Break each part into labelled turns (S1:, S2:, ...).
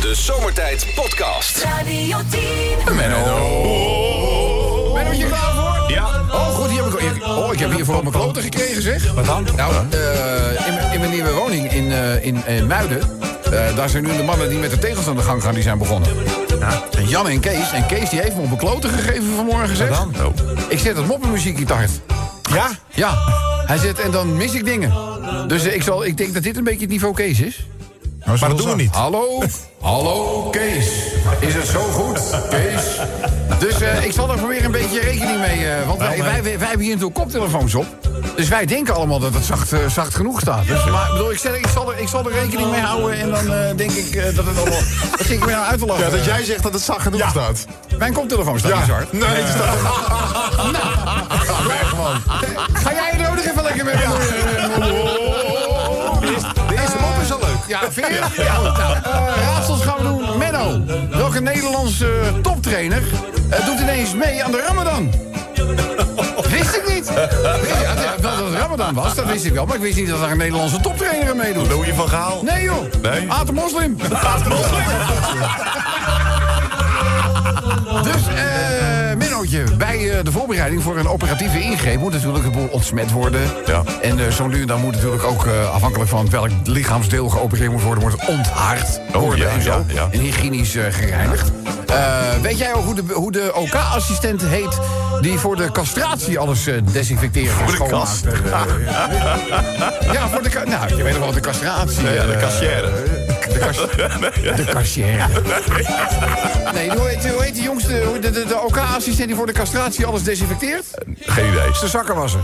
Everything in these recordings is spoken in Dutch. S1: de Zomertijd Podcast.
S2: Radio 10.
S3: Ben je klaar voor?
S4: Ja.
S3: Oh, goed, hier heb ik, hier- oh, ik heb hiervoor op mijn kloten gekregen, zeg.
S4: Wat dan?
S3: Nou, eh, in, mijn- in mijn nieuwe woning in, eh, in eh, Muiden... eh, daar zijn nu de mannen die met de tegels aan de gang gaan, die zijn begonnen. En Jan en Kees. En Kees die heeft me op mijn kloten gegeven vanmorgen, zeg.
S4: Wat dan? Oh.
S3: Ik zet dat moppenmuziek in hard.
S4: Ja?
S3: Ja, hij zegt, en dan mis ik dingen. Dus eh, ik, zal, ik denk dat dit een beetje het niveau Kees is.
S4: Maar dat doen we niet.
S3: Hallo, hallo Kees. Is het zo goed, Kees? Dus eh, ik zal daar proberen een beetje rekening mee. eh,
S5: Nou,
S3: want wij,
S4: Wel,
S3: wij,
S4: nee.
S3: wij, wij hebben hier natuurlijk koptelefoons op. Dus wij denken allemaal dat het zacht, eh, zacht genoeg staat. Dus, maar ik bedoel, ik, zeg, ik, zal er, ik zal er rekening mee houden. En dan eh, denk ik eh, dat het allemaal... Wat zit ik me nou uit te lachen?
S5: Ja, dat jij zegt dat het zacht genoeg staat.
S3: Mijn koptelefoon staat niet zo hard.
S5: Nee, het staat
S3: Ga jij er ook nog even lekker eh, mee
S5: De eerste mop is al leuk.
S3: Ja, vind je? Ja. Nou, eh, raadsels gaan we doen. Menno, welke Nederlandse eh, toptrainer eh, doet ineens mee aan de Ramadan? Wist ik niet. Wist- ja, dat- dat het Ramadan was, dat wist ik wel. Maar ik wist niet dat daar een Nederlandse toptrainer aan meedoet.
S5: Doe je van Gaal?
S3: Nee joh,
S5: Nee.
S3: Aad de Moslim. Dus, eh Minnootje, bij eh, de voorbereiding voor een operatieve ingreep... moet natuurlijk een boel ontsmet worden.
S5: Ja.
S3: En eh, zo nu en dan moet natuurlijk ook, eh, afhankelijk van welk lichaamsdeel geopereerd moet worden... wordt het onthaard
S5: Oh,
S3: worden
S5: ja,
S3: en zo.
S5: ja, ja.
S3: En hygiënisch eh, gereinigd. Eh, weet jij ook hoe de, hoe de OK-assistent heet... die voor de castratie alles eh desinfecteert en
S5: de
S3: schoonmaakt?
S5: kast.
S3: Eh, ja, voor de... ka- Nou, je weet nog wel, de castratie.
S5: Ja, de
S3: eh,
S5: kassière.
S3: de kassier. De kassier. Nee, hoe heet, hoe heet die jongste, hoe- de, de, de OK-assistent die voor de castratie alles desinfecteert?
S5: Geen idee.
S3: De zakkenwasser.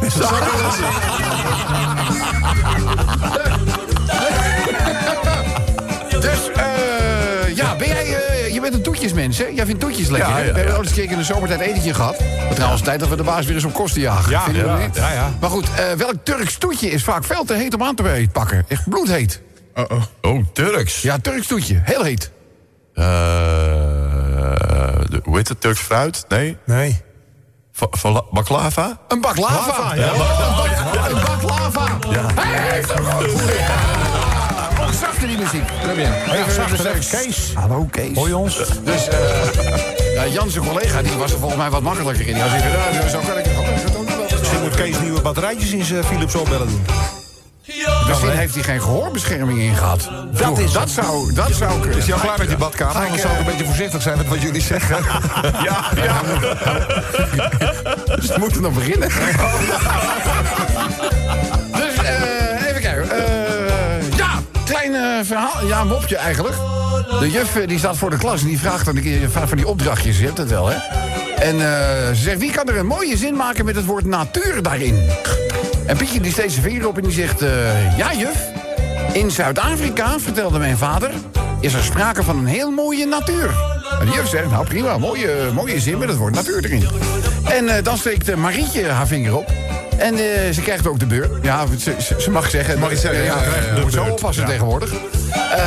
S3: Dus, eh, ja, ben jij, eh, je bent een toetjesmens, hè? Jij vindt toetjes lekker,
S5: Ja,
S3: hè?
S5: ja,
S3: we hebben
S5: ja.
S3: ooit eens een keer in de zomertijd etentje gehad. Maar trouwens, tijd dat we de baas weer eens op kosten jagen.
S4: Ja,
S3: Vinden jullie
S4: ja,
S3: niet?
S4: ja, ja.
S3: Maar goed, eh, welk Turks toetje is vaak veel te heet om aan te pakken? Echt bloedheet.
S5: Oh, oh, Turks.
S3: Ja, Turks toetje, heel heet.
S5: Eh, de- hoe heet het? Turks fruit? Nee.
S4: Nee.
S5: Va- va- la- Baklava?
S3: Een bak lava.
S4: ja.
S3: Oh, een bak lava. Hij heeft hem goed. Ja. Oh, zachter die muziek. Kom in. Even
S4: zachter,
S3: rustig.
S4: even Kees.
S3: Hallo, Kees.
S4: Hoi ons.
S3: Dus, eh ja, Jan, zijn collega, die was er volgens mij wat makkelijker in. Die had zeggen, nou, zo kan ik het ook. dat kan ik wel.
S4: Misschien moet Kees nieuwe batterijtjes in zijn Philips opbellen doen.
S3: Misschien heeft hij geen gehoorbescherming in gehad. Vroeger.
S4: is-
S3: dat, zou, dat zou kunnen.
S4: Is jou klaar met die badkamer?
S3: Ga ik,
S4: Anders zou ik
S3: eh,
S4: een beetje voorzichtig zijn met wat jullie zeggen.
S5: Ja, ja.
S3: Dus we moeten nog beginnen. dus eh, even kijken. Eh, ja, klein eh, verhaal. Ja, een mopje eigenlijk. De juf eh, die staat voor de klas en die vraagt dan een keer van van die opdrachtjes. Je hebt het wel, hè? En eh, ze zegt, wie kan er een mooie zin maken met het woord natuur daarin? En Pietje die steekt zijn vinger op en die zegt, eh, ja juf. In Zuid-Afrika, vertelde mijn vader, is er sprake van een heel mooie natuur. En de juf zegt, nou prima, mooie, mooie zin met het woord natuur erin. En eh, dan steekt eh, Marietje haar vinger op. En eh, ze krijgt ook de beurt. Ja, ze, ze- ze mag zeggen.
S5: Mag je zeggen, ja, ja, ja,
S3: je moet
S5: de
S3: zo
S5: beurt,
S3: oppassen
S5: ja.
S3: tegenwoordig. Eh,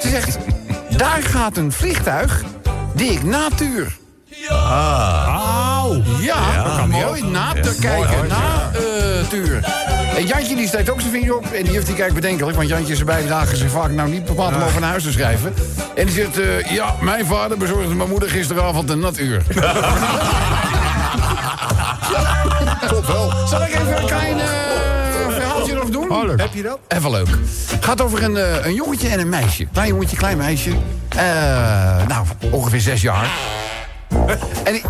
S3: ze zegt, daar gaat een vliegtuig die ik natuur.
S4: Auw.
S3: Ja, mooi na te kijken. na eh, tuur. En Jantje die steekt ook zijn vinger op. En die juf die kijkt bedenkelijk. Want Jantje zijn bijdragen zijn vaak nou niet bepaald om over naar huis te schrijven. En die zegt, eh, ja, mijn vader bezorgde mijn moeder gisteravond een natuur. Klopt wel. Zal ik even een klein eh, verhaaltje nog doen?
S4: Heb je dat?
S3: Even leuk. Gaat over een, eh, een jongetje en een meisje. Klein jongetje, klein meisje. Eh, nou, ongeveer zes jaar. En die,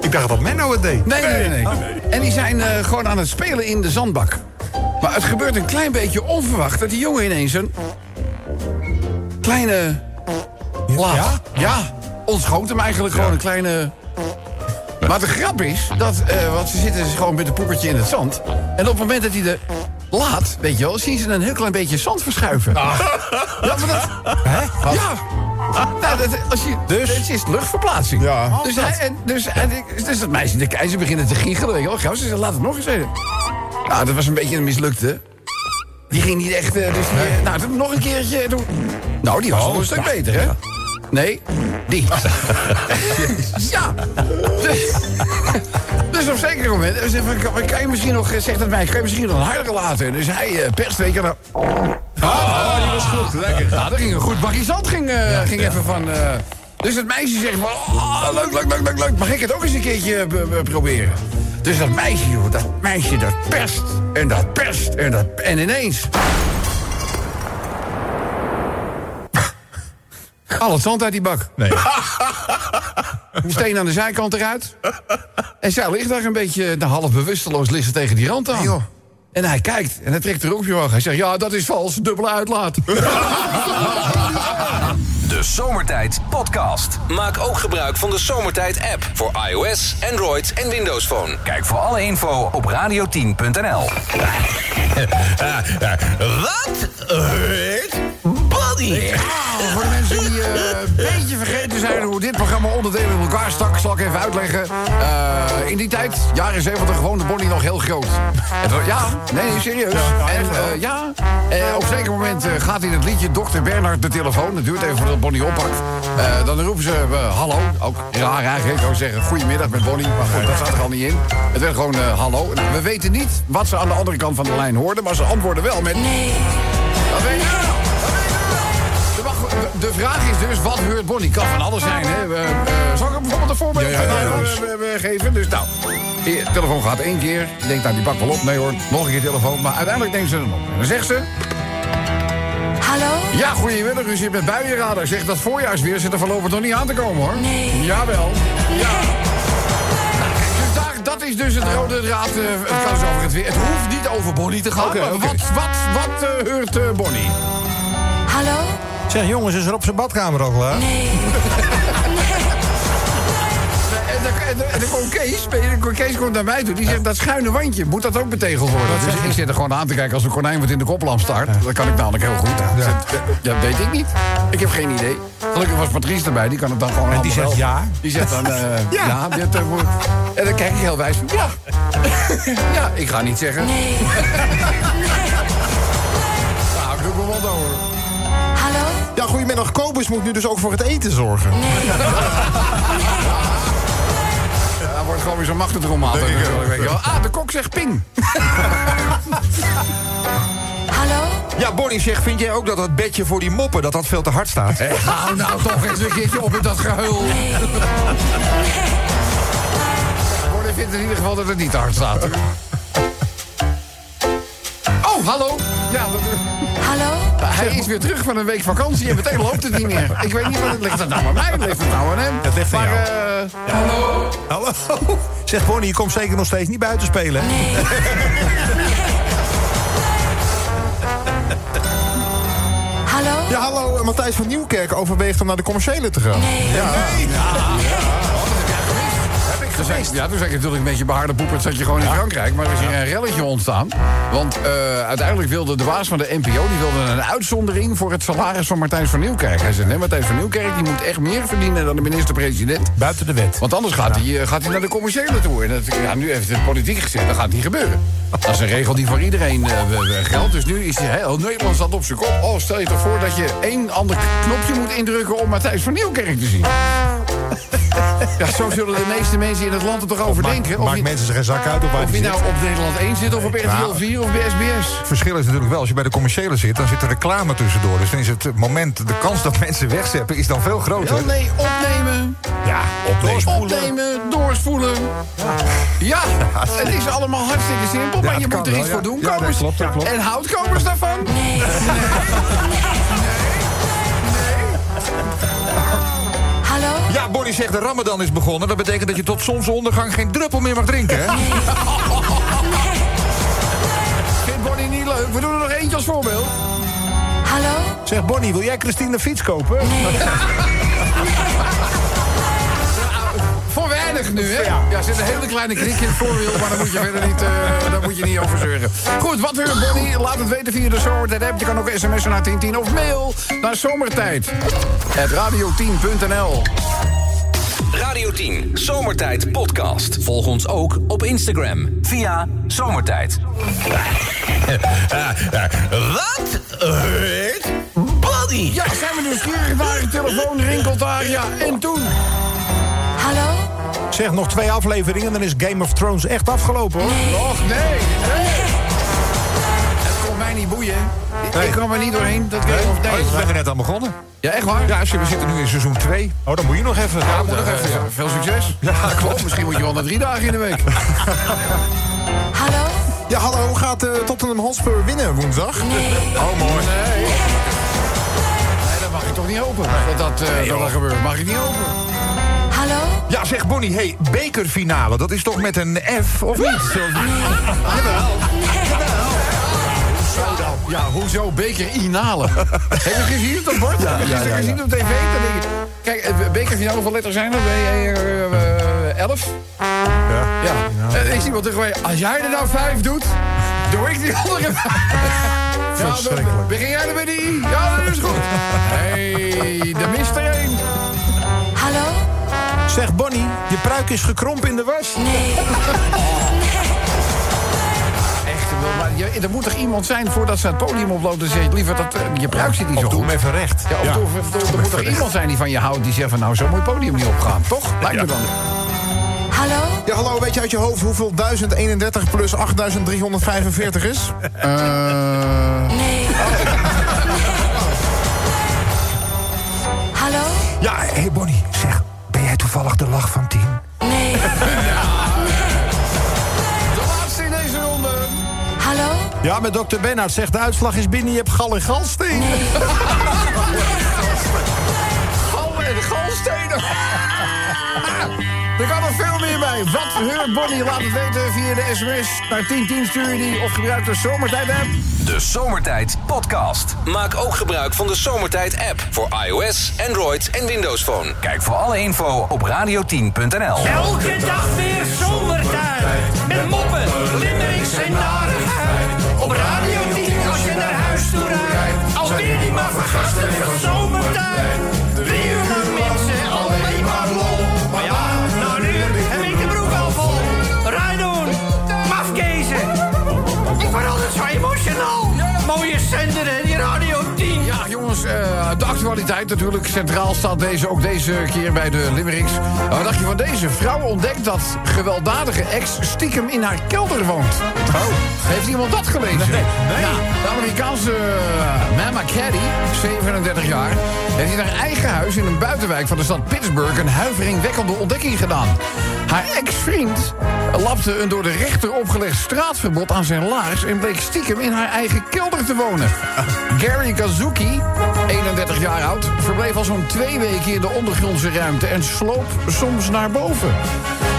S4: Ik dacht dat Menno het deed.
S3: Nee, nee, nee. nee. En die zijn eh, gewoon aan het spelen in de zandbak. Maar het gebeurt een klein beetje onverwacht dat die jongen ineens een kleine laat. Ja? ontschoot hem eigenlijk gewoon een kleine... Maar de grap is dat, eh want ze zitten dus gewoon met een poepertje in het zand. En op het moment dat hij de laat, weet je wel, zien ze een heel klein beetje zand verschuiven. Ja, maar dat... Hè? Ja. Nou, dat, als je, dus? Het is luchtverplaatsing.
S5: Ja.
S3: Dus, hij, en, dus, en, ik- dus dat meisje de keizer beginnen te giechelen. Weet je wel, gauw, ze zegt, laat het nog eens even. Nou, dat was een beetje een mislukte. Die ging niet echt... eh, Dus die, eh, Nou, toen nog een keertje. Toen, nou, die was nog een stuk beter, hè? Nee, die. ja. Dus, dus op een zeker moment... eh, zegt van, Kan, kan je misschien nog, eh, zegt dat meisje, kan je misschien nog harder laten? Dus hij eh, perst, weet je wel,
S4: Oh, die was goed.
S3: Lekker. Nou, er ging een goed bakje zand. Ging, eh, ging even van... eh, dus dat meisje zegt van... Oh, leuk, leuk, leuk, leuk, leuk. Mag ik het ook eens een keertje eh, b- b- proberen? Dus dat meisje, joh, dat meisje dat perst. En dat perst. En, dat, en ineens... Al het zand uit die bak.
S2: Nee.
S3: Steen aan de zijkant eruit. En zij ligt daar een beetje eh, nou, half bewusteloos liggen tegen die rand aan.
S4: joh.
S3: En hij kijkt en hij trekt er ook Hij zegt, ja, dat is vals. Dubbele uitlaat.
S1: De Zomertijd Podcast. Maak ook gebruik van de Zomertijd app voor iOS, Android en Windows Phone. Kijk voor alle info op radio10.nl.
S6: Wat hurt body?
S3: Nou, voor de mensen die eh, een beetje vergeten zijn hoe dit programma onderdelen in elkaar stak, zal ik even uitleggen. Eh, in die tijd, jaren 70, woonde Bonnie nog heel groot. Het wa- ja, nee, serieus. en eh, ja, eh, op een zeker moment eh, gaat in het liedje Dr. Bernard de telefoon. Dat duurt even voordat Bonnie oppakt. Eh, dan roepen ze eh, hallo. Ook raar eigenlijk. Ik zou zeggen goedemiddag met Bonnie. Maar goed, dat staat er al niet in. Het werd gewoon eh, hallo. Nou, we weten niet wat ze aan de andere kant van de lijn hoorden, maar ze antwoorden wel met. Nee. Dat weet nou?" ik wel. De, wacht- de- de vraag is dus, wat heurt Bonnie? Kan van alles zijn, hè? We, eh, zal ik hem bijvoorbeeld een voorbeeld
S4: Ja, ja, ja,
S3: van,
S4: ja.
S3: eh, we- we- geven? Dus nou, hier, telefoon gaat één keer. Je denkt, nou, die pakt wel op. Nee hoor, nog een keer telefoon. Maar uiteindelijk neemt ze hem op. En dan zegt ze...
S7: Hallo?
S3: Ja, goedemiddag, u zit met buienradar. Zegt dat voorjaarsweer zit er voorlopig nog niet aan te komen, hoor.
S7: Nee.
S3: Jawel. Ja. Dus daar, dat is dus het rode draad. eh, het kan zo over het weer. Het hoeft niet over Bonnie te gaan.
S4: Oké,
S3: maar
S4: oké.
S3: Wat, wat, wat eh, heurt eh, Bonnie?
S7: Hallo?
S4: Zeg, jongens, is er op zijn badkamer al klaar?
S7: Nee.
S3: En dan- En dan- en dan komt Kees, weet je, Kees komt naar mij toe. Die zegt, dat schuine wandje, moet dat ook betegeld worden? Dus ik zit er gewoon aan te kijken als een konijn wat in de koplamp staart. Dat kan ik namelijk heel goed. Dus Dat, dat weet ik niet. Ik heb geen idee. Gelukkig was Patrice erbij, die kan het dan gewoon
S4: die
S3: allemaal
S4: zegt
S3: wel.
S4: ja.
S3: Die zegt dan, eh, ja. die heeft, eh, moet- en dan kijk ik heel wijs van, ja. ja, ik ga niet zeggen.
S7: Nee.
S3: Nou, ik doe mijn mond over.
S7: Hallo?
S4: Ja, goedemiddag. Kobus moet nu dus ook voor het eten zorgen.
S3: Ja, wordt gewoon weer zo'n machtendrommaat. Ah, de kok zegt ping.
S7: Hallo?
S2: Ja, Bonnie zegt, vind jij ook dat dat bedje voor die moppen dat dat veel te hard staat?
S3: Hou nou toch eens een keertje op met dat geheul. Gordon vindt in ieder geval dat het niet te hard staat. Oh, hallo. Ja, dat-
S7: Hallo?
S3: hij is weer terug van een week vakantie en meteen loopt het niet meer. Ik weet niet, wat het ligt het nou aan mij? Ligt het nou aan hem?
S4: Het ligt aan
S3: maar,
S4: jou.
S3: eh, Hallo.
S4: Hallo? Zeg, Bonnie, je komt zeker nog steeds niet buiten spelen, hè?
S7: Hallo?
S2: Ja, hallo, eh, Matthijs van Nieuwkerk overweegt om naar de commerciële te gaan.
S3: Heb ik gezegd. Ja, toen zei ik natuurlijk een beetje behaarde poepert zat je gewoon in Frankrijk. Maar er is hier een relletje ontstaan. Want eh, uiteindelijk wilde de baas van de NPO... die wilde een uitzondering voor het salaris van Martijn van Nieuwkerk. Hij zei, nee, Martijn van Nieuwkerk die moet echt meer verdienen dan de minister-president.
S4: Buiten de wet.
S3: Want anders gaat hij, eh, gaat hij naar de commerciële toe. En dat, ja, nu heeft het politiek gezegd, dat gaat niet gebeuren. Dat is een regel die voor iedereen eh, we- we geldt. Dus nu is heel Nederland staat op zijn kop. Oh, stel je toch voor dat je één ander knopje moet indrukken... om Matthijs van Nieuwkerk te zien. Ja, zo zullen de meeste mensen in het land er toch over denken. Of
S4: Maakt
S3: je,
S4: mensen zich geen zak uit op waar
S3: of
S4: die
S3: je
S4: zit.
S3: nou op Nederland 1 zit of op RTL 4 of bij SBS.
S2: Het verschil is natuurlijk wel, als je bij de commerciële zit, dan zit er reclame tussendoor. Dus dan is het moment, de kans dat mensen wegzeppen, is dan veel groter.
S3: Ja, nee, opnemen.
S4: Ja, op
S3: Opnemen, doorspoelen. Ja, het is allemaal hartstikke simpel, maar
S2: het
S3: je
S2: kan
S3: moet er
S2: wel,
S3: iets
S2: ja.
S3: voor doen,
S2: Ja, dat
S3: Kobus.
S2: klopt, dat klopt.
S3: En houdt Kobus daarvan? Nee.
S7: Hallo?
S2: Ja, Bonnie zegt de Ramadan is begonnen. Dat betekent dat je tot zonsondergang geen druppel meer mag drinken. Hè?
S3: Vindt Bonnie niet leuk? We doen er nog eentje als voorbeeld.
S7: Hallo?
S4: Zeg, Bonnie, wil jij Christine een fiets kopen?
S3: Voor weinig nu, hè? Ja, er zit een hele kleine knik in het voorwiel, maar daar moet je verder niet, eh, daar moet je niet over zeuren. Goed, wat wil je, Bonnie? Laat het weten via de Zomertijd app. Je kan ook sms'en naar 1010 of mail naar zomertijd. Het radio10.nl.
S1: Radio 10 Zomertijd Podcast. Volg ons ook op Instagram via Zomertijd.
S6: Wat hurt body?
S3: Ja, zijn we nieuwsgierig naar de telefoon rinkelt daar, ja. En toen?
S7: Hallo?
S4: Zeg, nog twee afleveringen, dan is Game of Thrones echt afgelopen, hoor.
S3: Och, nee. nee. Het komt mij niet niet boeien. Ik- Ik kan er niet doorheen. Dat weet ik of
S2: Oh,
S3: nee.
S2: ik ben er net aan begonnen.
S3: Ja, echt waar?
S2: Ja, we zitten nu in seizoen 2.
S4: Oh, dan moet je nog even.
S3: Ja, moet nog even. ja. Veel succes. Ja, klopt. Misschien moet je wel naar drie dagen in de week.
S7: hallo,
S4: Ja, hallo, gaat eh, Tottenham Hotspur winnen woensdag?
S3: Oh, mooi. Nee. Nee, dat mag ik toch niet hopen. Dat dat, eh, dat, dat gebeurt. Mag ik niet hopen.
S7: hallo,
S2: Ja, zeg Bonnie, hey, bekerfinale, dat is toch met een F, of niet?
S3: Zo dan. Ja, hoezo? Beker Inale. Heb je het gezien op dat bord? Ja, Heb je het gezien op tv? Dan denk ik, kijk, eh, bekerfinale, hoeveel letters zijn er? Eh, eh, eh, Elf? Ja. Eh, ja. En is iemand tegen mij, als jij er nou vijf doet, doe ik die andere vijf. Ja, dan
S4: Verschrikkelijk.
S3: begin jij er met die I? Ja, dat is goed. hey, de mist er één.
S7: hallo.
S4: Zeg Bonnie, je pruik is gekrompen in de was.
S7: Nee,
S3: Echt, ik bedoel, maar je- er moet toch iemand zijn voordat ze het podium oploopt en zegt liever dat eh, je bruik zit niet zo
S4: Of doe
S3: goed.
S4: hem even recht.
S3: Ja, of toch- of toch- er moet toch iemand zijn die van je houdt die zegt van nou zo moet het podium niet opgaan, toch? Lijkt me dan.
S7: hallo,
S8: Ja, hallo, weet je uit je hoofd hoeveel 1031 plus 8345 is?
S7: nee. Hallo,
S2: Ja, hey Bonnie, zeg, ben jij toevallig de lach van 10?
S7: nee.
S3: De laatste in deze ronde.
S7: Hallo,
S4: Ja, maar dokter Bernhard zegt de uitslag is binnen. Je hebt gal en galsteen.
S3: Gallen en galstenen. er kan nog veel meer bij. Wat heurt Bonnie? Laat het weten via de sms. Naar 1010 stuur je die of gebruik de zomertijd-app.
S1: De Zomertijd Podcast. Maak ook gebruik van de Zomertijd app voor iOS, Android en Windows Phone. Kijk voor alle info op radio10.nl.
S9: Elke dag weer zomertijd. Met moppen, limmerings en narigheid. Op Radio 10 als je naar huis toe rijdt. Alweer die maar vergastige zomertijd. Drie uur lang mensen, alleen maar lol. Maar ja, na een uur heb ik de broek al vol. Rijdoen, mafkezen. Ik word altijd zo emotional. Mooie zender hè, die Radio 10.
S3: Ja, jongens, eh, de actualiteit natuurlijk. Centraal staat deze ook deze keer bij de Limericks. Wat dacht je van deze? Vrouw ontdekt dat gewelddadige ex stiekem in haar kelder woont. Oh. Heeft iemand dat gelezen? Nee. Ja, de Amerikaanse eh, Mama Caddy, 37 jaar, heeft in haar eigen huis in een buitenwijk van de stad Pittsburgh een huiveringwekkende ontdekking gedaan. Haar ex-vriend lapte een door de rechter opgelegd straatverbod aan zijn laars en bleek stiekem in haar eigen kelder te wonen. Gary Kazuki, 31 jaar oud, verbleef al zo'n twee weken in de ondergrondse ruimte en sloop soms naar boven.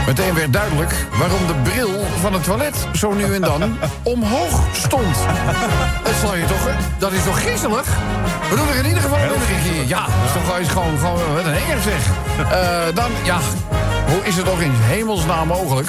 S3: Meteen werd duidelijk waarom de bril van het toilet zo nu en dan omhoog stond. Dat zal je toch, dat is toch griezelig? We doen er in ieder geval een ik hier. Ja, dat is toch eens gewoon, gewoon wat een enger zeg. Eh, dan, ja, hoe is het toch in hemelsnaam mogelijk?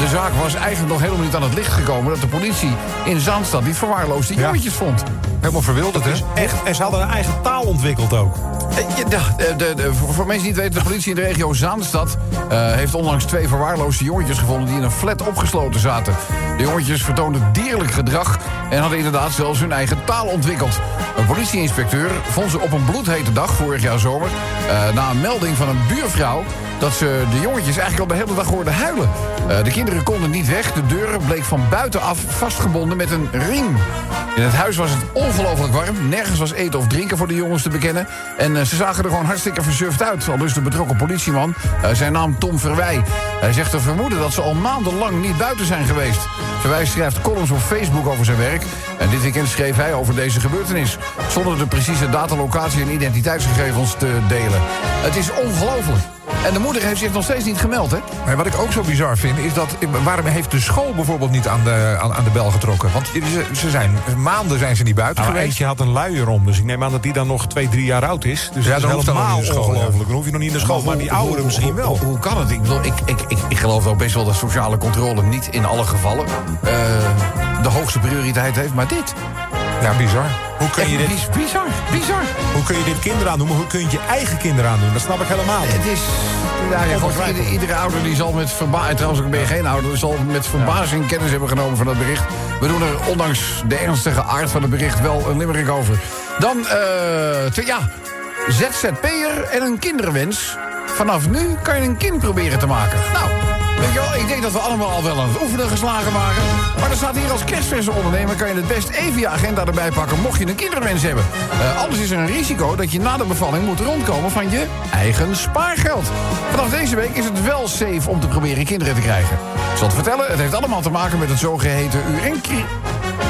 S3: De zaak was eigenlijk nog helemaal niet aan het licht gekomen... dat de politie in Zaanstad die verwaarloosde jongetjes vond.
S2: Helemaal verwilderd, hè?
S4: Echt, en ze hadden een eigen taal ontwikkeld ook.
S3: Eh, ja, de- de- de- de- voor, voor mensen die het weten, de politie in de regio Zaanstad... eh, heeft onlangs twee verwaarloosde jongetjes gevonden... die in een flat opgesloten zaten. De jongetjes vertoonden dierlijk gedrag... en hadden inderdaad zelfs hun eigen taal ontwikkeld. Een politieinspecteur vond ze op een bloedhete dag vorig jaar zomer... eh, na een melding van een buurvrouw... dat ze de jongetjes eigenlijk al de hele dag hoorden huilen. Eh, de kinderen konden niet weg. De deuren bleek van buitenaf vastgebonden met een riem. In het huis was het ongelooflijk warm. Nergens was eten of drinken voor de jongens te bekennen. En eh, ze zagen er gewoon hartstikke versuft uit. Al dus de betrokken politieman, eh, zijn naam Tom Verwij. Hij zegt te vermoeden dat ze al maandenlang niet buiten zijn geweest. Verwij schrijft columns op Facebook over zijn werk. En dit weekend schreef hij over deze gebeurtenis. Zonder de precieze datalocatie en identiteitsgegevens te delen. Het is ongelooflijk. En de moeder heeft zich nog steeds niet gemeld, hè?
S2: Maar wat ik ook zo bizar vind, is dat... waarom heeft de school bijvoorbeeld niet aan de, aan, aan de bel getrokken? Want ze, ze zijn, maanden zijn ze niet buiten
S4: Nou,
S2: geweest.
S4: eentje had een luier om, dus ik neem aan dat die dan nog twee, drie jaar oud is. Dus
S2: Ja,
S4: dat
S2: dan
S4: is
S2: hoeft dat nog
S4: helemaal
S2: niet in de school,
S4: ongelooflijk. Dan hoef je nog niet in de school, Oh, maar die ouderen misschien
S3: Hoe,
S4: wel.
S3: hoe- hoe kan het? Ik, bedoel, ik, ik, ik, ik geloof ook best wel dat sociale controle niet in alle gevallen eh, de hoogste prioriteit heeft. Maar dit,
S2: Ja, bizar.
S4: Hoe kun, je
S3: echt
S4: dit,
S3: biz- bizar, bizar.
S4: hoe kun je dit kinderen aandoen, maar hoe kun je het je eigen kinderen aandoen? Dat snap ik helemaal niet.
S3: Het is, nou ja, goed, ieder- iedere ouder die zal met verbazing, trouwens ik ben geen ouder, zal met verbazing kennis hebben genomen van dat bericht. We doen er ondanks de ernstige aard van het bericht wel een limmerik over. Dan, eh, te- ja, ZZP'er en een kinderwens. Vanaf nu kan je een kind proberen te maken. Nou, Weet je wel, ik denk dat we allemaal al wel aan het oefenen geslagen waren. Maar er staat hier als kerstverse ondernemer... kan je het best even je agenda erbij pakken mocht je een kinderwens hebben. Eh, anders is er een risico dat je na de bevalling moet rondkomen van je eigen spaargeld. Vanaf deze week is het wel safe om te proberen kinderen te krijgen. Ik zal het vertellen, het heeft allemaal te maken met het zogeheten urenkri...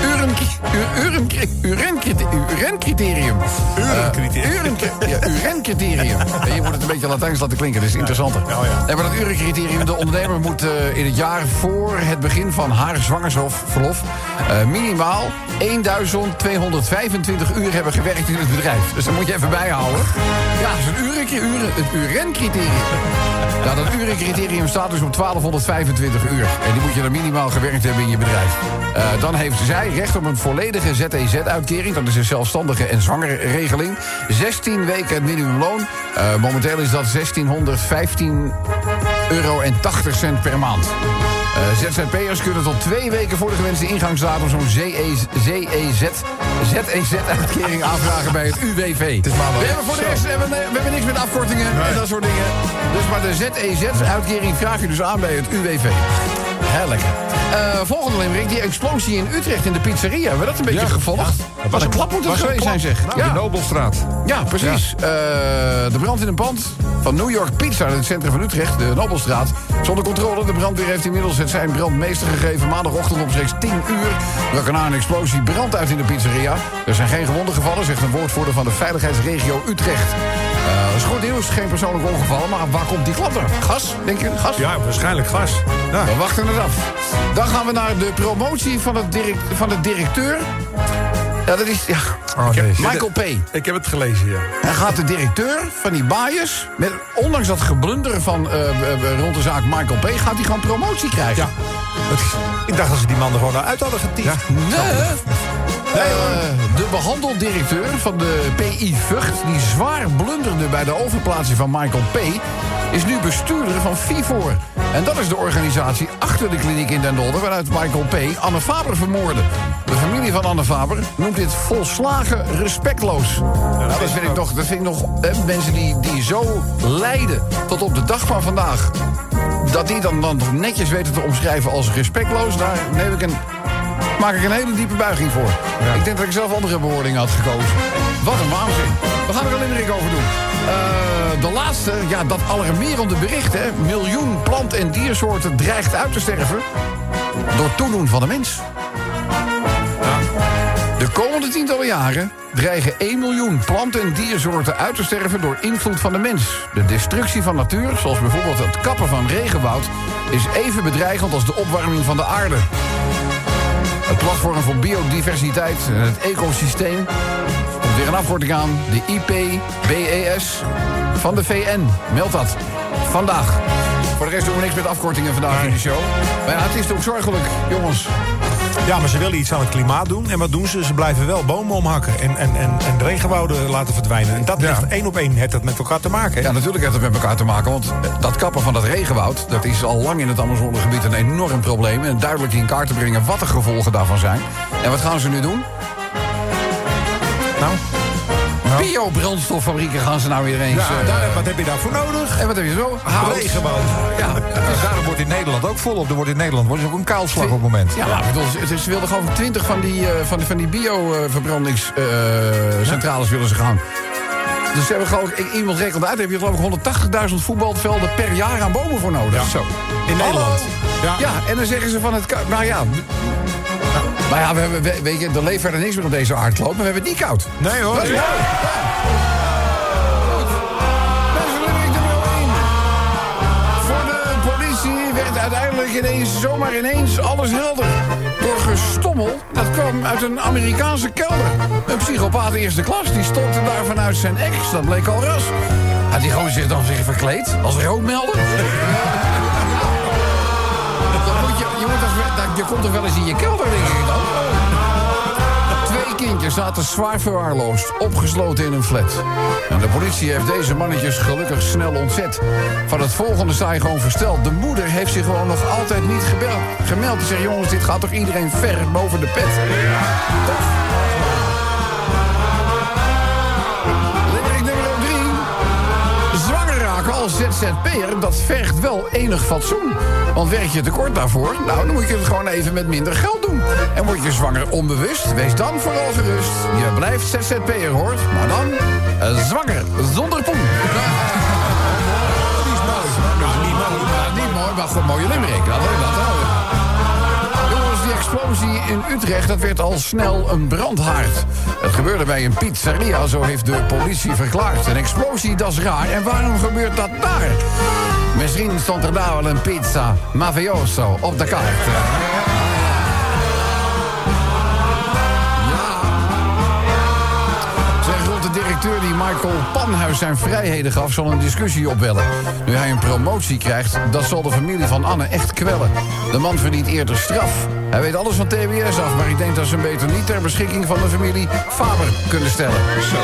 S3: urenkri- u- urenkri- urenkri- Urencriterium.
S4: Urencriterium.
S3: Eh, urenkri- ja, Urencriterium. Nee, Je moet het een beetje Latijns laten klinken, dat is interessanter.
S4: Ja, Oh, ja.
S3: Nee, maar dat urencriterium, de ondernemer moet eh, in het jaar voor het begin van haar zwangerschapsverlof eh, minimaal 1225 uur hebben gewerkt in het bedrijf. Dus dat moet je even bijhouden. Ja, dat is een urencri- uren, het urencriterium. Nou, dat urencriterium staat dus op 1225 uur. En die moet je dan minimaal gewerkt hebben in je bedrijf. Eh, dan heeft zij recht op een volledige ZEZ-uitkering. Dat is een zelfstandige en zwangerregeling. 16 weken het minimumloon. Eh, momenteel is dat 1615 euro en 80 cent per maand. Eh, ZZP'ers kunnen tot twee weken voor de gewenste ingangsdatum zo'n E ZEZ, ZEZ-uitkering E aanvragen bij het UWV. we hebben voor de rest hebben, we we hebben niks met afkortingen en dat soort dingen. Dus maar de ZEZ-uitkering vraag je dus aan bij het UWV. Hè, lekker. Eh, volgende limmering, die explosie in Utrecht in de pizzeria. Hebben we dat een beetje gevolgd? Wat een klap moet dat
S2: Was
S3: geweest zijn, zeg.
S2: Nou, De Nobelstraat.
S3: Ja, precies. Eh, de brand in een pand van New York Pizza in het centrum van Utrecht, de Nobelstraat. Zonder controle. De brandweer heeft inmiddels het zijn brandmeester gegeven. Maandagochtend omstreeks 10 uur. brak er na een explosie brand uit in de pizzeria. Er zijn geen gewonden gevallen, zegt een woordvoerder van de veiligheidsregio Utrecht. Eh, Dat is goed nieuws, geen persoonlijk ongevallen. Maar waar komt die klapper? Gas, denk je? Gas?
S4: Ja, waarschijnlijk gas.
S2: Nou,
S4: Ja.
S3: We wachten het af. Dan gaan we naar de promotie van, het direct, van de directeur. Ja, dat is... Ja.
S2: Oh, nee.
S3: Michael P.
S4: Ik heb het gelezen, ja.
S3: Dan gaat de directeur van die baaiers... Met, ondanks dat geblunder van eh, eh, eh, rond de zaak Michael P... gaat hij gewoon promotie krijgen.
S4: Ja. Het is- Ik dacht dat ze die man er gewoon uit hadden getiefd.
S3: Nee. Eh, de behandeldirecteur van de PI Vught... die zwaar blunderde bij de overplaatsing van Michael P... is nu bestuurder van FIFOR. En dat is de organisatie achter de kliniek in Den Dolder... waaruit Michael P. Anne Faber vermoordde. De familie van Anne Faber noemt dit volslagen respectloos. Nou, dat vind ik nog... Dat vind ik nog eh, mensen die, die zo lijden tot op de dag van vandaag... dat die dan, dan toch netjes weten te omschrijven als respectloos... daar neem ik een maak ik een hele diepe buiging voor. Ik denk dat ik zelf andere bewoordingen had gekozen. Wat een waanzin. We gaan er een limerick over doen. Eh, de laatste, ja, dat alarmerende bericht, hè. Miljoen plant- en diersoorten dreigt uit te sterven... door toedoen van de mens. De komende tientallen jaren dreigen 1 miljoen plant- en diersoorten uit te sterven door invloed van de mens. De destructie van natuur, zoals bijvoorbeeld het kappen van regenwoud, is even bedreigend als de opwarming van de aarde. Het platform voor biodiversiteit en het ecosysteem komt weer een afkorting aan. De IPBES E van de VN. Meld dat. Vandaag. Voor de rest doen we niks met afkortingen vandaag in de show. Maar ja, het is toch zorgelijk, jongens.
S4: Ja, maar ze willen iets aan het klimaat doen. En wat doen ze? Ze blijven wel bomen omhakken en, en, en, en regenwouden laten verdwijnen. En dat heeft één op één heeft dat met elkaar te maken. hè?
S3: Ja, natuurlijk heeft het met elkaar te maken. Want eh, dat kappen van dat regenwoud, dat is al lang in het Amazonegebied een enorm probleem. En duidelijk in kaart te brengen wat de gevolgen daarvan zijn. En wat gaan ze nu doen?
S4: Nou,
S3: Biobrandstoffabrieken gaan ze nou weer eens.
S4: ja,
S3: eh,
S4: dus, daar- wat heb je daarvoor nodig?
S3: en wat heb je zo? Hout.
S4: Regenwoud.
S3: Ja,
S2: Dus daarom wordt in Nederland ook volop. Er wordt in Nederland wordt ook een kaalslag op het moment.
S3: Ja, maar ik bedoel, ze, ze wilden gewoon 20 van die, eh, van, die- van die bioverbrandingscentrales willen ze gaan. Dus ze hebben gewoon, ik- iemand rekent uit, heb je geloof ik 180.000 voetbalvelden per jaar aan bomen voor nodig. Zo. Oh.
S4: In Nederland.
S3: Ja.
S4: Ja.
S3: en dan zeggen ze van het koud. Nou ja. Nou ja, we hebben, we- weet je, er leeft verder niks meer op deze aardkloot, maar we hebben het niet koud.
S4: Nee hoor.
S3: Ja. Mensen, Limburg er wel in. Voor de politie werd uiteindelijk ineens, zomaar ineens, alles helder. Door gestommel, dat kwam uit een Amerikaanse kelder. Een psychopaat eerste klas, die stopte daar vanuit zijn ex. Dat bleek al ras. Had die gozer zich dan zich verkleed als rookmelder? Dan moet je, je, moet als, dan- je komt toch wel eens in je kelder, denk ik dan? Twee kindjes zaten zwaar verwaarloosd, opgesloten in een flat. En de politie heeft deze mannetjes gelukkig snel ontzet. Van het volgende sta je gewoon versteld. De moeder heeft zich gewoon nog altijd niet gebeld, gemeld. Ze zegt, jongens, dit gaat toch iedereen ver boven de pet? Toch? Limerick nummer drie. Zwanger raken als ZZP'er, dat vergt wel enig fatsoen. Want werk je tekort daarvoor? Nou, dan moet je het gewoon even met minder geld doen. En word je zwanger onbewust? Wees dan vooral gerust. Je blijft ZZP'er, hoor. Maar dan eh, zwanger, zonder poen. Die is mooi. Nou, niet mooi, maar niet mooi, maar goed, mooie limerick. Dat hoor, dat hoor. Jongens, die explosie in Utrecht, dat werd al snel een brandhaard. Het gebeurde bij een pizzeria, zo heeft de politie verklaard. Een explosie, dat is raar. En waarom gebeurt dat daar? Misschien stond er daar wel een pizza mafioso op de kaart. Zeg, rond de directeur die Michael Panhuis zijn vrijheden gaf... zal een discussie opbellen. Nu hij een promotie krijgt, dat zal de familie van Anne echt kwellen. De man verdient eerder straf. Hij weet alles van TBS af, maar ik denk dat ze hem beter niet... ter beschikking van de familie Faber kunnen stellen. Zo.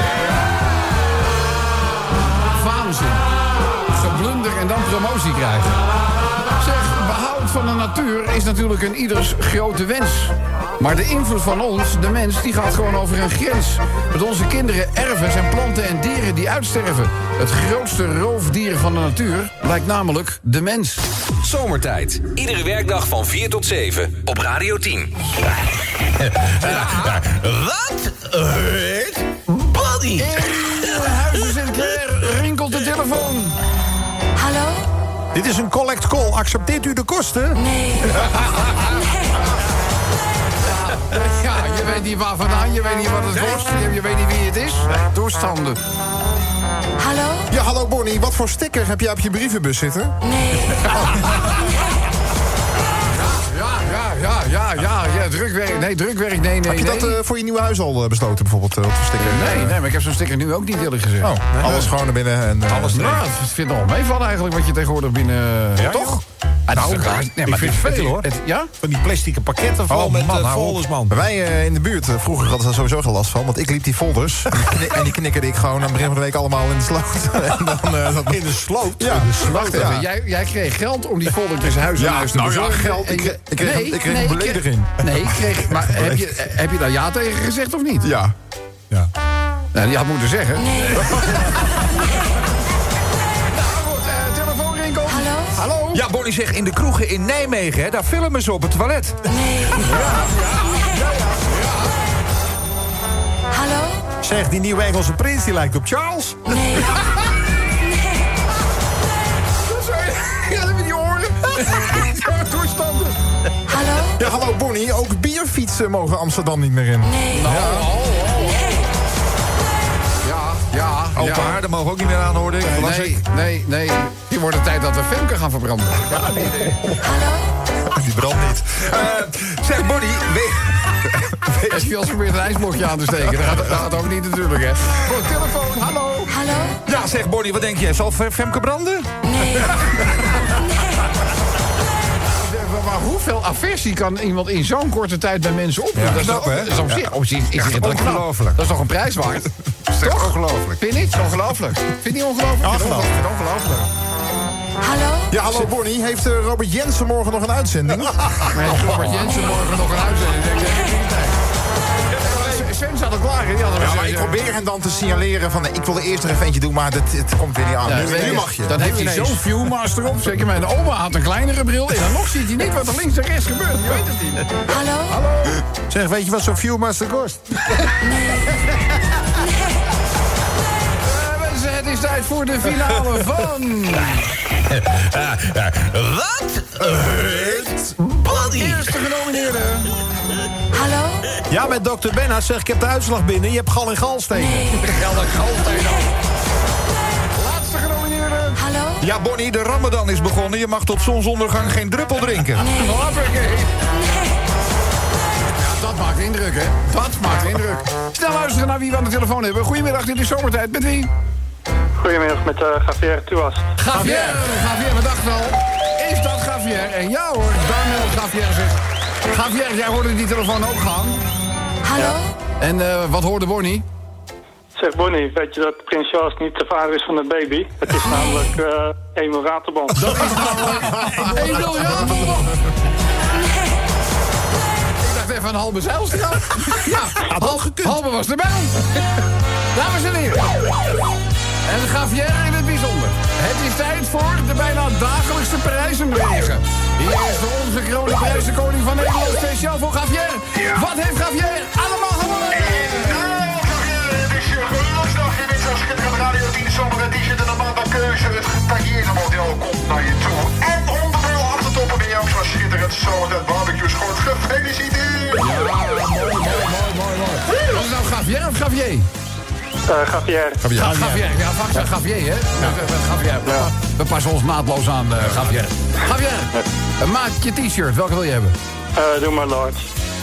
S3: Waanzin. Geblunder en dan promotie krijgen. Zeg, behoud van de natuur is natuurlijk een ieders grote wens. Maar de invloed van ons, de mens, die gaat gewoon over een grens. Met onze kinderen erven zijn planten en dieren die uitsterven. Het grootste roofdier van de natuur lijkt namelijk de mens.
S1: Zomertijd. Iedere werkdag van 4 tot 7 op Radio 10.
S6: Wat heet Buddy?
S3: eh, In Huizen Sinclair rinkelt de telefoon.
S7: Hallo?
S4: Dit is een collect call. Accepteert u de kosten?
S7: Nee.
S3: Ja, je weet niet waar vandaan, je weet niet wat het was, je- je weet niet wie het is. Toestanden.
S7: Hallo?
S8: Ja, hallo Bonnie, wat voor sticker heb jij op je brievenbus zitten?
S7: Nee.
S3: Ja, ja, ja, ja, ja, ja, drukwerk, nee, drukwerk, nee, nee,
S8: Heb je dat
S3: nee.
S8: eh, voor je nieuwe huis al eh, besloten, bijvoorbeeld? eh, wat voor sticker?
S3: Nee, nee, maar ik heb zo'n sticker nu ook niet eerlijk gezegd.
S8: Oh, alles gewoon naar binnen en... eh,
S3: Nou, het vindt al meevallen eigenlijk wat je tegenwoordig binnen...
S4: Toch?
S3: Ah, dat is
S4: Nou,
S3: toch raar?
S4: ik
S3: Nee, maar
S4: vind
S3: dit-
S4: het
S3: dit-
S4: veel, hoor.
S3: het- Ja?
S4: Van die plastieke pakketten vol
S2: Oh,
S4: met
S2: man,
S4: eh,
S2: hou op.
S4: folders, man.
S8: Bij wij eh, in de buurt, eh, vroeger hadden ze daar sowieso geen last van, want ik liep die folders. en, die kni- en die knikkerde ik gewoon aan het begin van de week allemaal in de sloot. en dan, eh, dat-
S4: In de sloot.
S8: ja,
S3: Wacht
S8: ja.
S3: even, jij, jij kreeg geld om die foldertjes huis aan
S8: Ja,
S3: huis te
S8: nou ja,
S3: bezorgen
S8: geld.
S3: en
S8: Ik
S3: je-
S8: kreeg- ik kreeg een- ik kreeg een
S3: ik
S8: belediging.
S3: nee, ik kreeg... Maar heb je, heb je daar ja tegen gezegd of niet?
S8: Ja.
S4: Ja.
S3: Nou, die had moeten zeggen.
S7: Nee.
S3: eh, Telefoon rinkelt.
S7: Hallo?
S3: Hallo?
S2: Ja, Bonnie zegt in de kroegen in Nijmegen, hè, daar filmen ze op het toilet.
S7: Nee. Hallo?
S4: Zeg, die nieuwe Engelse prins, die lijkt op Charles.
S7: Nee.
S3: Ja, dat met die oren. Ja, toestanden.
S7: Hallo?
S8: ja, hallo Bonnie, ook bierfietsen mogen Amsterdam niet meer in.
S7: Nee.
S3: Ja, ja,
S2: Open
S3: ja.
S2: haarden mogen ook niet meer aan, hoorde ik. Las
S3: Nee,
S2: ik.
S3: nee, nee. Hier wordt het tijd dat we Femke gaan verbranden.
S7: Hallo?
S8: Die brandt niet.
S2: Eh, zeg, Bonnie, we-
S3: En Jos probeert een ijsblokje aan te steken. Dat gaat, dat gaat ook niet natuurlijk, hè. Goed, telefoon, hallo.
S7: Hallo?
S2: ja, zeg Bonnie, wat denk jij? Zal Fe- Femke branden?
S7: Nee.
S3: Maar hoeveel aversie kan iemand in zo'n korte tijd bij mensen opdoen?
S2: Ja,
S3: dat is,
S2: knap,
S3: toch-
S2: hè?
S3: dat is op zich, op zich is het knap.
S2: ongelooflijk.
S3: Dat is toch een prijs waard?
S2: Dat is echt ongelooflijk.
S3: Vind je niet? Ongelooflijk. Vind je niet ongelooflijk?
S8: Ongelooflijk.
S3: Vind je het Ongelooflijk.
S7: Hallo?
S8: Ja, hallo Bonnie, heeft eh, Robert Jensen morgen nog een uitzending?
S3: Maar heeft Robert Jensen morgen nog een uitzending? Ik denk, ik heb geen tijd. Sven zat al klaar, hè? Die had al
S8: Ja, maar
S3: gezegd,
S8: ik
S3: eh,
S8: probeer hem dan te signaleren van... eh, ik wil eerst nog even eentje doen, maar het, het komt weer niet aan.
S3: Ja,
S8: nu,
S3: weet
S8: nu
S3: je,
S8: mag je.
S3: Dan
S8: Nu
S3: heeft hij
S8: ineens.
S3: zo'n viewmaster op. Zeker mijn oma had een kleinere bril. En dan nog ziet hij niet wat er links en rechts gebeurt. Je weet het niet.
S7: Hallo?
S8: Zeg, weet je wat zo'n Viewmaster kost?
S3: Eh, mensen, het is tijd voor de finale van...
S6: Wat heet Buddy?
S3: Eerste genomineerde.
S7: Hallo?
S4: Ja, met dokter Benna zeg ik heb de uitslag binnen. Je hebt gal en galstenen.
S3: Laatste genomineerde.
S7: Hallo?
S2: Ja, Bonnie, de ramadan is begonnen. Je mag tot zonsondergang geen druppel drinken.
S10: Ah,
S3: Hoppakee. Ja, Dat maakt indruk, hè? Dat maakt indruk. Snel luisteren naar wie we aan de telefoon hebben. Goedemiddag, dit is Zomertijd. Met wie?
S11: Goedemiddag met eh Javier Tuas.
S3: Javier. Javier, we dachten al. Is dat Javier? En ja hoor, Daniel Javier zegt... Javier, jij hoorde die telefoon ook gaan.
S7: Hallo?
S3: En eh, wat hoorde Bonnie?
S11: Zeg Bonnie, weet je dat Prins Charles niet de vader is van de baby? Het is namelijk eh Emil Raterband.
S3: Dat is namelijk 1 miljard. Ik dacht even, van Halbe Zijlstra. ja, Hal, Halbe was erbij. Dames en heren. En Javier in het bijzonder. Het is tijd voor de bijna dagelijkse prijzenwegen. Hier is de onze kroning prijzenkoning van Nederland speciaal voor Javier. Wat heeft Javier allemaal gewonnen?
S12: Radio 10 Zomer Edition en een maand aan keuze. Het getailleerde model komt naar je toe. En onderdeel achtertoppen ben je ook zo schitterend. Zo, dat barbecue schoot. Gefeliciteerd!
S3: Was het nou Javier of Javier?
S11: Eh Javier.
S3: Gavier. Nou, Gavier. Ja, vaak aan Gavier, hè? We- we- Gavier. We- We passen ons maatloos aan, eh, Gavier. Gavier, eh, maak je t-shirt. Welke wil je hebben?
S11: Eh, doe maar large.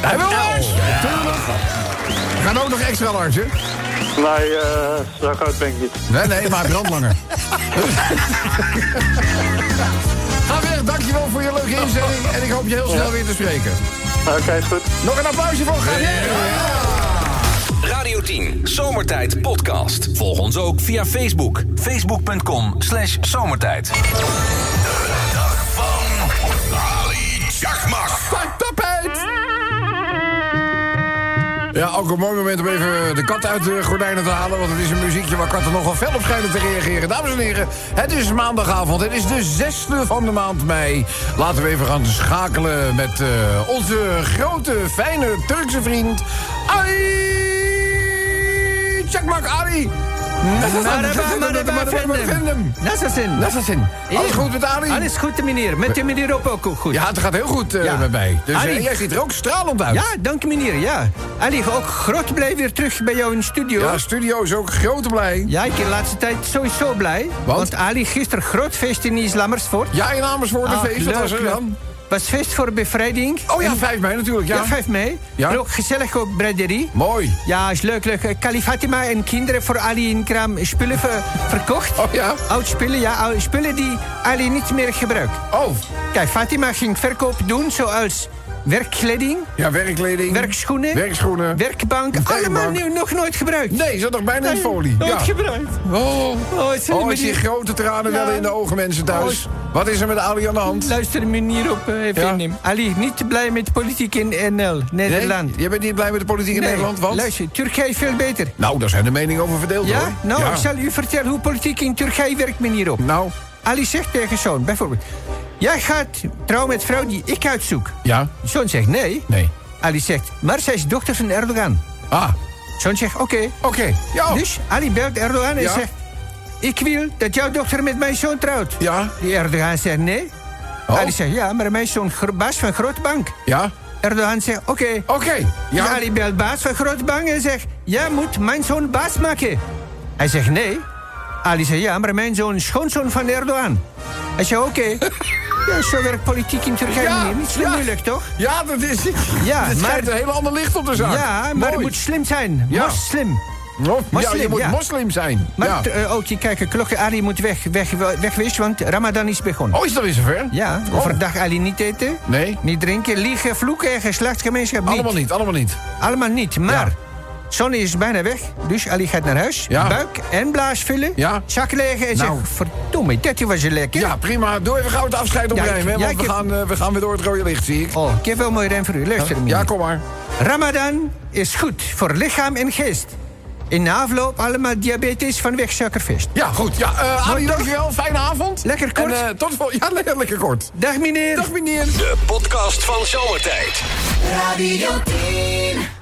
S3: Hij wil large! Tuurlijk! We gaan ook nog extra large, hè?
S11: Nee, eh zo groot ben ik niet.
S3: Nee, nee, maar brandlanger. Gavier, dankjewel voor je leuke inzending. En ik hoop je heel snel weer te spreken.
S11: Nou, Oké, is goed.
S3: Nog een applausje voor Gavier!
S1: Radio 10, Zomertijd Podcast. Volg ons ook via Facebook. Facebook.com slash zomertijd.
S3: Pak tapijt! Ja, ook een mooi moment om even de kat uit de gordijnen te halen. Want het is een muziekje waar katten nogal fel op schijnen te reageren. Dames en heren, het is maandagavond. Het is de zesde van de maand mei. Laten we even gaan schakelen met eh, onze grote, fijne Turkse vriend... Ali Çakmak Ali!
S10: Nassasin.
S3: Nassasin. Alles goed met Ali?
S10: Alles goed, meneer. Met de meneer ook, ook goed.
S3: Ja, het gaat heel goed eh, met mij. Dus, eh, jij ziet er ook stralend uit.
S10: Ja, dank je, meneer. Ja. Ali, ook groot blij weer terug bij jou in de studio. Ja,
S3: studio is ook groot blij.
S10: Ja, ik ben de laatste tijd sowieso blij. Want, Ali, gisteren groot feest in Islammersvoort.
S3: Ja, in Amersfoort een
S10: Ah,
S3: feest. Wat
S10: leuk,
S3: was er
S10: leuk.
S3: dan?
S10: was feest voor bevrijding.
S3: Oh ja,
S10: En-
S3: 5 mei natuurlijk, ja.
S10: Ja, 5 mei.
S3: Ja.
S10: En ook gezellig op braderie.
S3: Mooi.
S10: Ja, is leuk, leuk. Eh, Kalifatima en kinderen voor Ali in Kraam spullen ver- verkocht. Oh
S3: ja?
S10: Oud spullen, ja. oude spullen die Ali niet meer gebruikt.
S3: Oh.
S10: Kijk, Fatima ging verkoop doen zoals werkkleding.
S3: Ja, werkkleding.
S10: Werkschoenen.
S3: Werkschoenen.
S10: Werkbank. Allemaal
S3: werkbank.
S10: nieuw, nog nooit gebruikt.
S3: Nee, zat nog bijna in folie.
S10: Nooit
S3: Ja.
S10: gebruikt.
S3: Oh,
S10: oh, het zijn
S3: oh ik
S10: maar die-
S3: zie grote tranen
S10: Ja.
S3: wel in de ogen, mensen thuis. Wat is er met Ali aan de hand?
S10: Luister meneer op, eh, even innemen. Ali, niet blij met politiek in NL, Nederland.
S3: Nee? Je bent niet blij met de politiek in
S10: Nee,
S3: Nederland, want...
S10: Luister, Turkije is veel beter.
S3: Nou, daar zijn de meningen over verdeeld, hoor.
S10: Ja? Nou, ik zal u vertellen hoe politiek in Turkije werkt, meneer op.
S3: Nou?
S10: Ali zegt tegen zoon, bijvoorbeeld... Jij gaat trouwen met vrouw die ik uitzoek.
S3: Ja.
S10: Zoon zegt nee.
S3: Nee.
S10: Ali zegt, maar zij is dochter van Erdogan.
S3: Ah.
S10: Zoon zegt, oké.
S3: Oké, ja.
S10: Dus Ali belt Erdogan en
S3: Ja.
S10: zegt... Ik wil dat jouw dochter met mijn zoon trouwt.
S3: Ja. Oh.
S10: Die Erdogan zegt nee. Ali zegt, ja, maar mijn zoon gro- baas van Grootbank.
S3: Ja.
S10: Erdogan zegt, oké.
S3: Oké. ja.
S10: Dus Ali belt baas van Grootbank en zegt... Jij moet mijn zoon baas maken. Hij zegt nee. Ali zegt, ja, maar mijn zoon is schoonzoon van Erdogan. Hij zegt, oké. Ja, zo werkt politiek in Turkije
S3: Ja,
S10: niet. Niet zo
S3: ja.
S10: moeilijk, toch?
S3: Ja, dat is... Ja, dat schijnt een heel ander licht op de zaak.
S10: Ja, maar
S3: Mooi.
S10: het moet slim zijn.
S3: Ja.
S10: Moslim.
S3: ja, je moet moslim zijn.
S10: Maar
S3: Ja.
S10: t- eh, ook, je kijkt, klokken, Ali moet weg, weg, wegwezen, want Ramadan is begonnen.
S3: Oh, is dat weer zover?
S10: Ja,
S3: Oh.
S10: overdag Ali niet eten.
S3: Nee.
S10: Niet drinken, liegen, vloeken en geslachtsgemeenschap niet.
S3: Allemaal niet, allemaal niet.
S10: Allemaal niet, maar... Sonny is bijna weg, dus Ali gaat naar huis.
S3: Ja.
S10: Buik en blaas vullen. Zak legen en
S3: Nou.
S10: zegt... Verdomme, dit was je lekker.
S3: Ja, prima. Doe even gauw het afscheid
S10: Ja, ik-
S3: opnemen, hè,
S10: ja,
S3: want
S10: ik
S3: we,
S10: heb-
S3: gaan, eh, we gaan weer door het rode licht, zie ik.
S10: Oh, ik heb wel een mooi rem voor u. Luister,
S3: Huh?
S10: meneer.
S3: Ja, kom maar.
S10: Ramadan is goed voor lichaam en geest. In de afloop allemaal diabetes vanwege suikerfeest.
S3: Ja, goed. Ja, eh
S10: Mooi,
S3: Ali,
S10: toch?
S3: dankjewel. Fijne avond.
S10: Lekker kort.
S3: En, eh, tot de vol- ja, le- lekker kort.
S10: Dag meneer.
S3: Dag meneer.
S1: De podcast van Zomertijd.
S9: Radio 10.